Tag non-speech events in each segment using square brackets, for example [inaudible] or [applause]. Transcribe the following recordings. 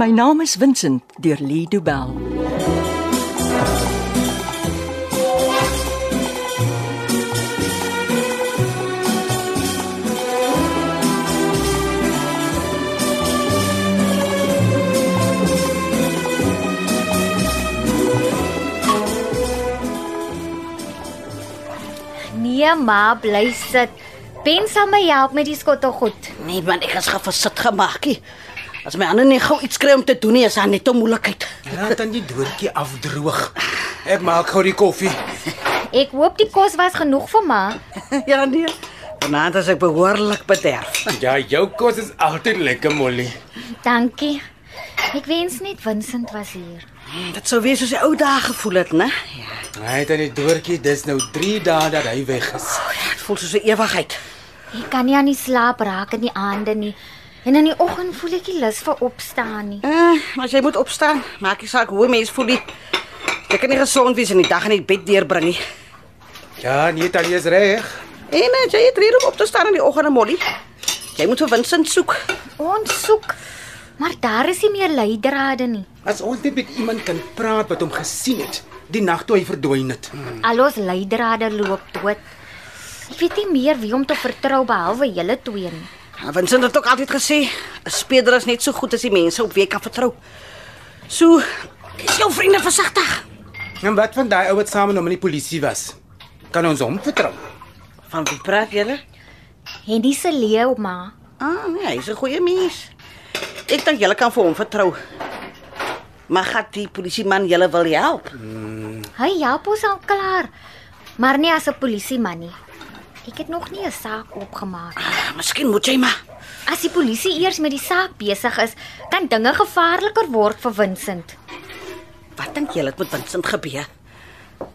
My naam is Vincent deur Lee Du Bell. Nee, ma, bly sit. Ben sal my help met die skottelgoed. Nee, want ek is geversit gemaak. He. As my ander nie gou iets kry om te doen nie, is daar net 'n moeilikheid. Laat dan die doortjie afdroog. Ek maak gou die koffie. Ek hoop die kos was genoeg vir ma. [laughs] ja nee. Vanaand as ek behoorlik bederf. Ja, jou kos is altyd lekker, Molly. Dankie. Ek wens net Vincent was hier. Mm, Dit sou weer soos die ou dae gevoel het, né? Ja, Hy het aan die doortjie, dis nou 3 dae dat hy weg is. dit voel soos 'n ewigheid. Ek kan nie aan die slaap raak in die aande nie. En in die oggend voel ek nie lus vir opstaan nie. Eh, maar as jy moet opstaan, maak nie saak hoe mens voel nie. Jy kan nie gesond wees en die dag in die bed deurbring nie. Ja, nee, Tannie is reg. En eh, jy het rede om op te staan in die oggend, Molly. Jy moet vir Vincent soek. Ons soek, maar daar is nie meer leidrade nie. As ons net met iemand kan praat wat hom gesien het die nag toe hy verdwyn het. Al ons leidrade loop dood. Ek weet nie meer wie om te vertrou behalwe julle twee nie. Ja, Vincent het ook altyd gesê, 'n speler is net so goed as die mense op wie jy kan vertrou. So, is jou vriende versigtig. En wat van daai ou wat saam met hom in die polisie was? Kan ons hom vertrou? Van wie praat julle? Henny se leeu ma. Ah, nee, hy's 'n goeie mens. Ek dink julle kan vir hom vertrou. Maar gaan die polisieman julle wil help? Hy help ons al klaar. Maar nie as 'n polisieman nie. Ek het nog nie 'n saak opgemaak nie. Ah, Miskien moet jy maar. As die polisie eers met die saak besig is, kan dinge gevaarliker word vir Vincent. Wat dink julle het met Vincent gebeur?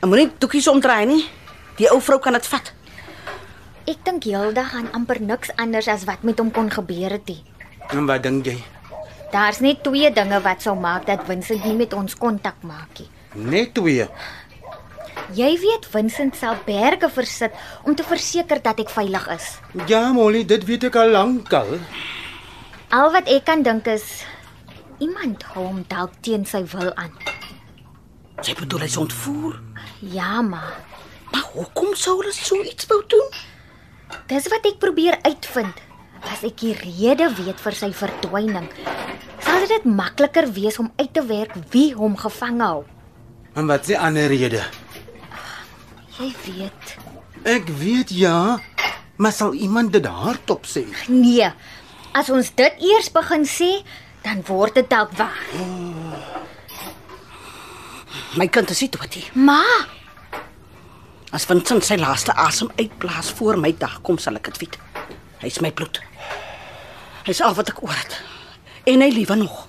Hy moenie doekies omdraai nie. Die ou vrou kan dit vat. Ek dink Hilda gaan amper niks anders as wat met hom kon gebeur het. nie. En wat dink jy? Daar's net twee dinge wat sou maak dat Vincent nie met ons kontak maak nie. Net twee. Jy weet Vincent sal berge versit om te verseker dat ek veilig is. Ja, Molly, dit weet ek al lankal. Al wat ek kan dink is iemand hou hom dalk teen sy wil aan. Sy bedoel hy's ontvoer. Ja, maar Maar hoekom sou hulle so iets wou doen? Dis wat ek probeer uitvind. As ek die rede weet vir sy verdwyning, sal dit makliker wees om uit te werk wie hom gevang hou. En wat se ander rede? Jy weet. Ek weet ja, maar sal iemand dit hardop sê? Nee. As ons dit eers begin sê, dan word dit dalk waar. My kind is nie dood nie. Ma, As Vincent sy laaste asem uitblaas voor my dag kom, sal ek dit weet. Hy's my bloed. Hy's al wat ek oor het. En hy lewe nog.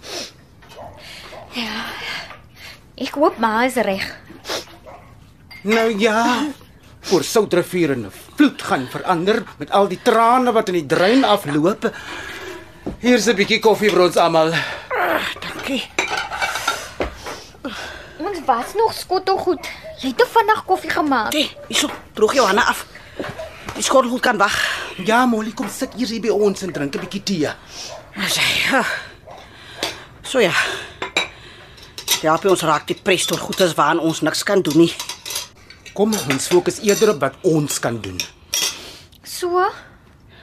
ek hoop ma is reg. Nou ja, oor Soutrivier in 'n vloed gaan verander met al die trane wat in die drein afloop. Hier's 'n bietjie koffie vir ons almal. Dankie. Ons was nog skottelgoed. Jy het te vinnig koffie gemaak. Hey, hierso, droog jou hande af. Die skottelgoed kan wag. Ja, Molly, kom sit hier hier by ons en drink 'n bietjie tee. Sê. Ja. So ja. Ja, by ons raak die pres tot goed as waaraan ons niks kan doen nie. Kom ons fokus eerder op wat ons kan doen. So,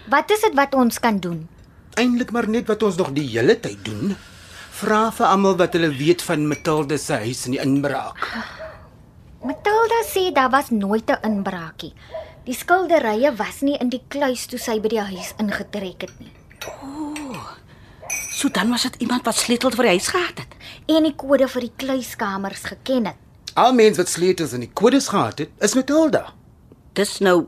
wat is dit wat ons kan doen? Eindelik maar net wat ons nog die hele tyd doen. Vra vir almal wat hulle weet van Matilda se huis in die inbraak. Matilda sê daar was nooit 'n inbraakie. Die skilderye was nie in die kluis toe sy by die huis ingetrek het nie. So dan was dit iemand wat sleutel vir die huis gehad het. En die kode vir die kluiskamers geken het. Al mense wat sleutels in die kodes gehad het, is Matilda. Dis nou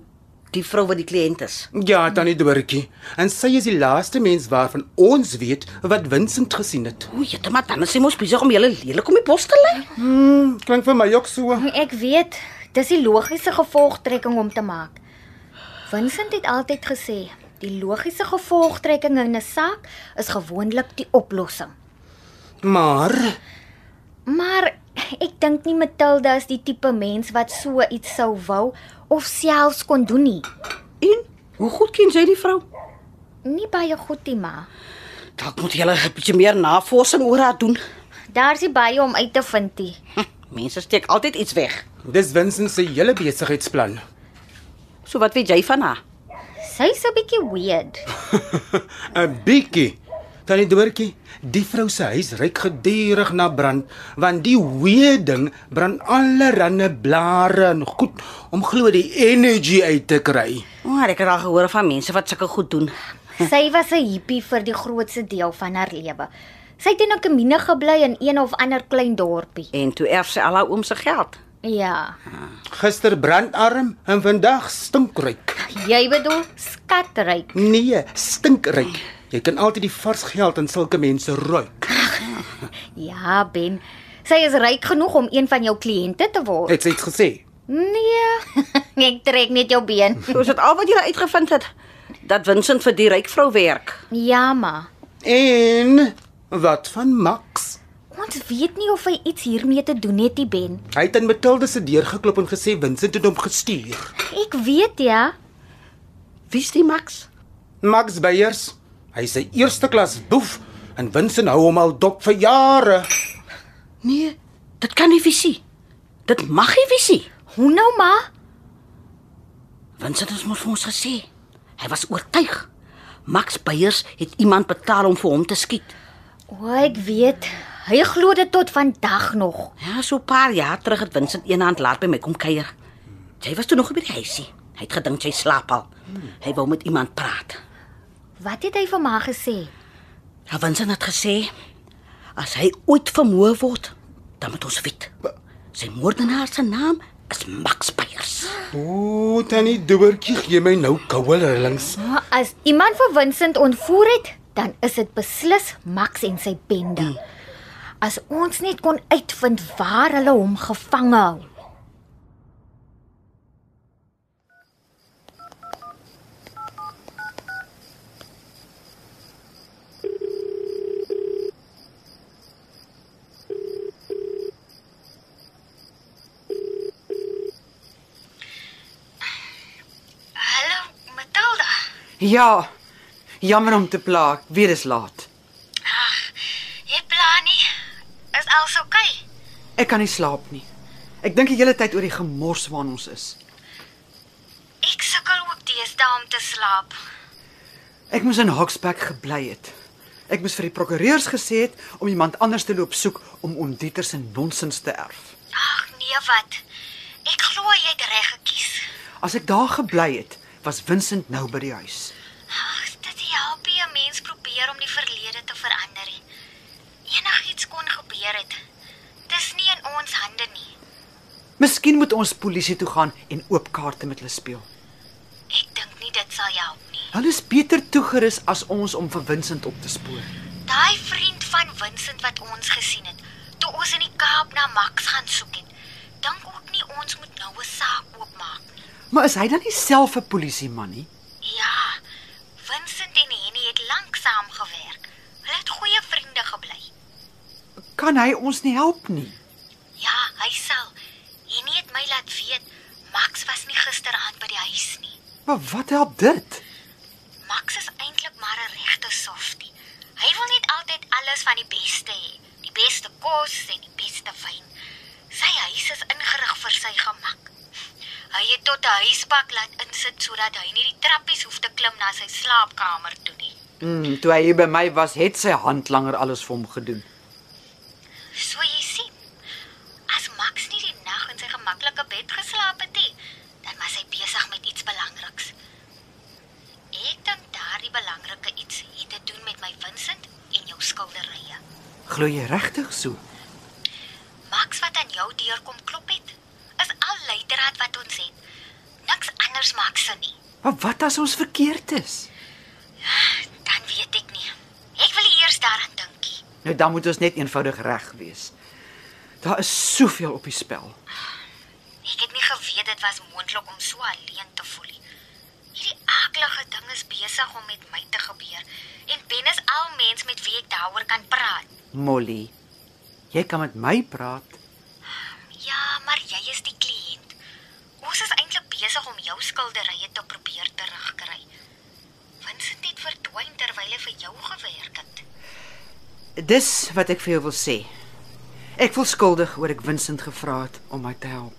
die vrou wat die kliënt is. Ja, tannie Dorothy. En sy is die laaste mens waarvan ons weet wat Vincent gesien het. O, jette, maar dan is sy mos besig om julle lelik om die bos te lei. Hm, Klink vir my ook so. Ek weet, dis die logiese gevolgtrekking om te maak. Vincent het altyd gesê, die logiese gevolgtrekking in 'n saak is gewoonlik die oplossing. Maar Maar ek dink nie Matilda is die tipe mens wat so iets sou wou of selfs kon doen nie. En hoe goed ken jy die vrou? Nie baie goed, nie, ma. Dalk moet jy 'n bietjie meer navorsing oor haar doen. Daar's nie baie om uit te vind nie. Hm, mense steek altyd iets weg. Dis Vincent se hele [laughs] besigheidsplan. So wat weet jy van haar? Sy's 'n bietjie weird. 'n Bietjie. Tannie Doortjie, die vrou se huis ryk gedurig na brand, want die weë ding brand allerlei blare en goed om glo die energy uit te kry. Maar ek het al gehoor van mense wat sulke goed doen. Sy was 'n hippie vir die grootste deel van haar lewe. Sy het in 'n kamine gebly in een of ander klein dorpie. En toe erf sy al haar oom se geld. Ja. Gister brandarm en vandag stinkryk. Jy bedoel skatryk. Nee, stinkryk. Jy kan altyd die vars geld aan sulke mense ruik. Ja, Ben. Sy is ryk genoeg om een van jou kliënte te word. Het sy iets gesê? Nee. [laughs] Ek trek net jou been. So is dit al wat jy uitgevind het dat Vincent vir die ryk vrou werk. Ja, maar En wat van Max? ons weet nie of hy iets hiermee te doen het nie, Ben. Hy het aan Matilda se deur geklop en gesê Vincent het hom gestuur. Ek weet ja. Wie's die Max? Max Beyers, hy's 'n eerste klas boef en Vincent hou hom al dop vir jare. Nee, dit kan nie visie. Dit mag nie visie. Hoe nou maar? Vincent het mos vir ons gesê. Hy was oortuig. Max Beyers het iemand betaal om vir hom te skiet. O, ek weet. Hy glo dit tot vandag nog. Ja, so 'n paar jaar terug het Vincent eendag laat by my kom kuier. Jy was toe nog by die huisie. Hy het gedink jy slaap al. Hy wou met iemand praat. Wat het hy vir my gesê? Ja, Vincent het gesê as hy ooit vermoor word, dan moet ons weet. Sy moordenaar se naam is Max Beyers. O, tannie Doortjie gee my nou koue rillings. Maar as iemand vir Vincent ontvoer het, dan is dit beslis Max en sy bende. As ons net kon uitvind waar hulle hom gevang hou. Hallo, Matilda. Ja. Jammer om te pla, ek weet dis laat. Jy pla nie. Is alles oukei? Okay? Ek kan nie slaap nie. Ek dink die hele tyd oor die gemors waarin ons is. Ek sukkel ook deesdae om te slaap. Ek moes in Hoksbek gebly het. Ek moes vir die prokureurs gesê het om iemand anders te loop soek om ondieter se nonsens te erf. Ag nee, wat? Ek glo jy het reg gekies. As ek daar gebly het, was Vincent nou by die huis. Ag, dit help nie 'n mens probeer om die verlede te verander nie. Enigiets kon gebeur het. Dis nie in ons hande nie. Miskien moet ons polisie toe gaan en oop kaarte met hulle speel. Ek dink nie dit sal jou help nie. Hulle is beter toegerus as ons om vir Vincent op te spoor. Daai vriend van Vincent wat ons gesien het, toe ons in die Kaap na Max gaan soek het. Dink ook nie ons moet nou 'n saak oopmaak nie. Maar is hy dan nie self 'n polisieman nie? Ja, Vincent en Henny het lank saam gewerk. Hulle het goeie vriende gebly. Kan hy ons nie help nie? Ja, hy sal. Henny het my laat weet Max was nie gisteraand by die huis nie. Maar wat help dit? Max is eintlik maar 'n regte softie. Hy wil net altyd alles van die beste hê. Die beste kos en die beste wyn. Sy huis is ingerig vir sy gemak. Hy het tot 'n huispak laat insit sodat hy nie die trappies hoef te klim na sy slaapkamer toe nie. Mm, toe hy hier by my was, het sy hand langer alles vir hom gedoen. So jy sien, as Max nie die nag in sy gemaklike bed geslaap het nie, dan was hy besig met iets belangriks. Ek dink daardie belangrike iets het te doen met my Vincent en jou skilderye. Glo jy regtig so? Max wat aan jou deur kom klop het, is al leidraad wat ons het. Niks anders maak sin nie. Maar wat as ons verkeerd is? Dan weet ek nie. Ek wil nie eers daaraan dink nie. Nou dan moet ons net eenvoudig reg wees. Daar is soveel op die spel. Ek het nie geweet dit was moontlik om so alleen te voel nie. Hierdie aaklige ding is besig om met my te gebeur en Ben is al mens met wie ek daaroor kan praat. Molly, jy kan met my praat. Ja, maar jy is die kliënt. Ons is eintlik besig om jou skilderye te probeer terugkry. Vincent het verdwyn terwyl hy vir jou gewerk het. Dis wat ek vir jou wil sê. Ek voel skuldig oor ek Vincent gevra het om my te help.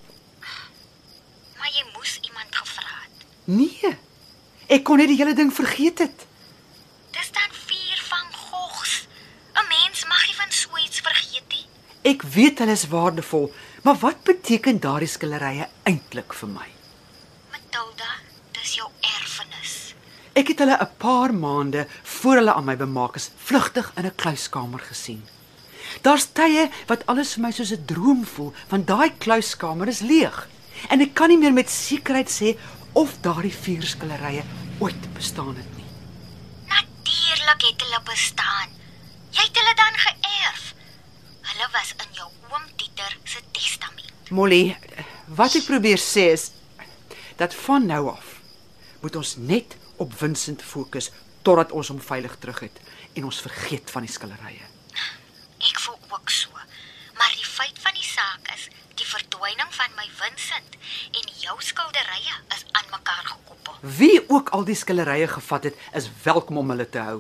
Maar jy moes iemand gevra het. Nee. Ek kon net die hele ding vergeet het. Dis dan vier van Gogs. 'n Mens mag nie van so iets vergeet nie. Ek weet hulle is waardevol, maar wat beteken daardie skillerye eintlik vir my? Matilda, dis jou erfenis. Ek het hulle 'n paar maande voor hulle aan my bemaak is, vlugtig in 'n kluiskamer gesien. Daar's tye wat alles vir my soos 'n droom voel, want daai kluiskamer is leeg en ek kan nie meer met sekerheid sê of daardie vier skillerye ooit bestaan het nie. Natuurlik het hulle bestaan. Jy het hulle dan geërf. Hulle was in jou oom Pieter se testament. Molly, wat ek probeer sê is dat van nou af moet ons net op Vincent fokus totdat ons hom veilig terug het en ons vergeet van die skillerye. Ek voel ook so. Maar die feit van die saak is, die verdwyning van my Vincent en jou skilderye is aan mekaar gekoppel. Wie ook al die skillerye gevat het, is welkom om hulle te hou.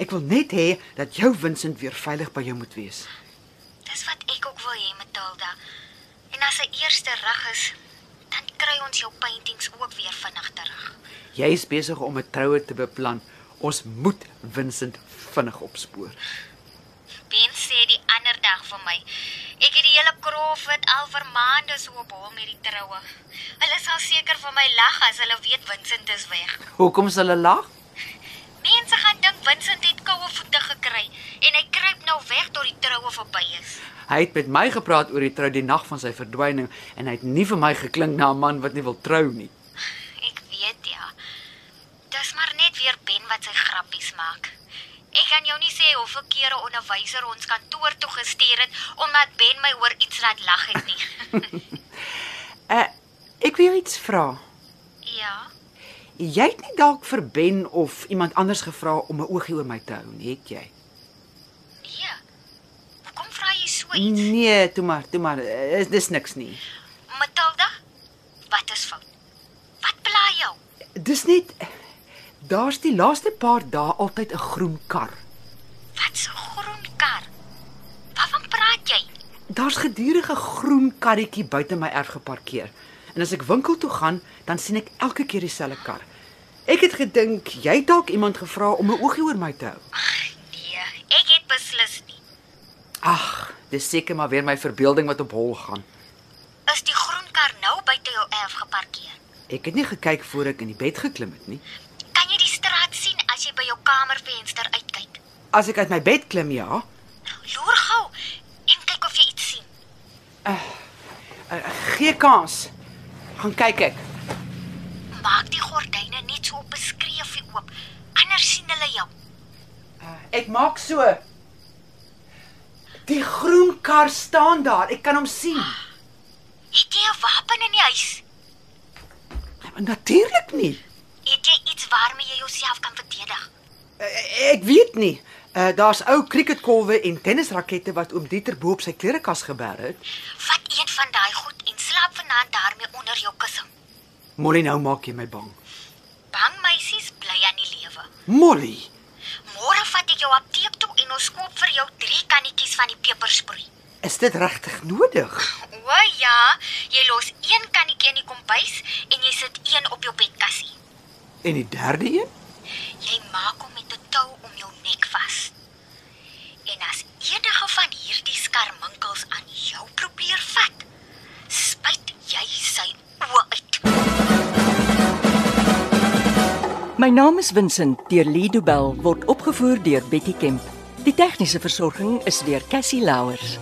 Ek wil net hê dat jou Vincent weer veilig by jou moet wees. Dis wat ek ook wil hê, Matilda. En as 'n eerste reg is, dan kry ons jou paintings ook weer vinnig terug. Jy is besig om 'n troue te beplan. Ons moet Vincent vinnig opspoor. Ben sê die ander dag vir my, ek het die hele Crawford al vir maande so op hom met die troue. Hulle sal seker vir my lag as hulle weet Vincent is weg. Hoekom sal hulle lag? Mense gaan dink Vincent het koue voete gekry en hy kruip nou weg tot die troue verby is. Hy het met my gepraat oor die trou die nag van sy verdwyning en hy het nie vir my geklink na 'n man wat nie wil trou nie. Ek weet ja. Dis maar net weer Ben wat sy grappies maak. Ek kan jou nie sê hoeveel kere onderwyser ons kantoor toe gestuur het omdat Ben my oor iets laat lag het nie. [laughs] Uh, ek wil jou iets vra. ja. Jy het nie dalk vir Ben of iemand anders gevra om 'n oogie oor my te hou nie, het jy? Nee. Hoekom vra jy so iets? Nee, toe maar, toe maar, eh, is dis niks nie. Matilda? Wat is fout? Wat pla jou? Dis net daar's die laaste paar dae altyd 'n groen kar. Wat so groen kar? Waarvan praat jy? Daar's gedurende 'n groen karretjie buite my erf geparkeer. En as ek winkel toe gaan, dan sien ek elke keer dieselfde kar. Ek het gedink jy het dalk iemand gevra om 'n oogie oor my te hou. Nee, ek het beslis nie. Ag, dis seker maar weer my verbeelding wat op hol gaan. Is die groen kar nou buite jou erf geparkeer? Ek het nie gekyk voor ek in die bed geklim het nie. Kan jy die straat sien as jy by jou kamervenster uitkyk? Nou, As ek uit my bed klim, ja, Loer gou en kyk of jy iets sien. gee kans. Gaan kyk ek. Maak die gordyne net so op 'n skreefie oop, anders sien hulle jou. Ek maak so. Die groen kar staan daar. Ek kan hom sien. Het jy 'n wapen in die huis? Ah, Natuurlik nie. Het jy iets waarmee jy jouself kan verdedig? Eh, Ek weet nie. Uh, Daar's ou cricketkolwe en tennisrakette wat oom Dieter bo op sy klerekas geberg het. Vat een van daai goed en slaap vanaand daarmee onder jou kussing. Molly, nou maak jy my bang. Bang meisies bly aan die lewe. Molly, Môre vat ek jou apteek toe en ons koop vir jou 3 kannetjies van die pepersproei. is dit regtig nodig? O ja, jy los een kannetjie in die kombuis en jy sit een op jou bedkassie. En die derde een? Jy maak hom met 'n tou om jou nek vas. En as enige van hierdie skarminkels aan jou probeer vat, spyt jy sy oë uit. My naam is Vincent deur Lido Bell word opgevoer deur Betty Kemp. Die tegniese versorging is deur Cassie Louers.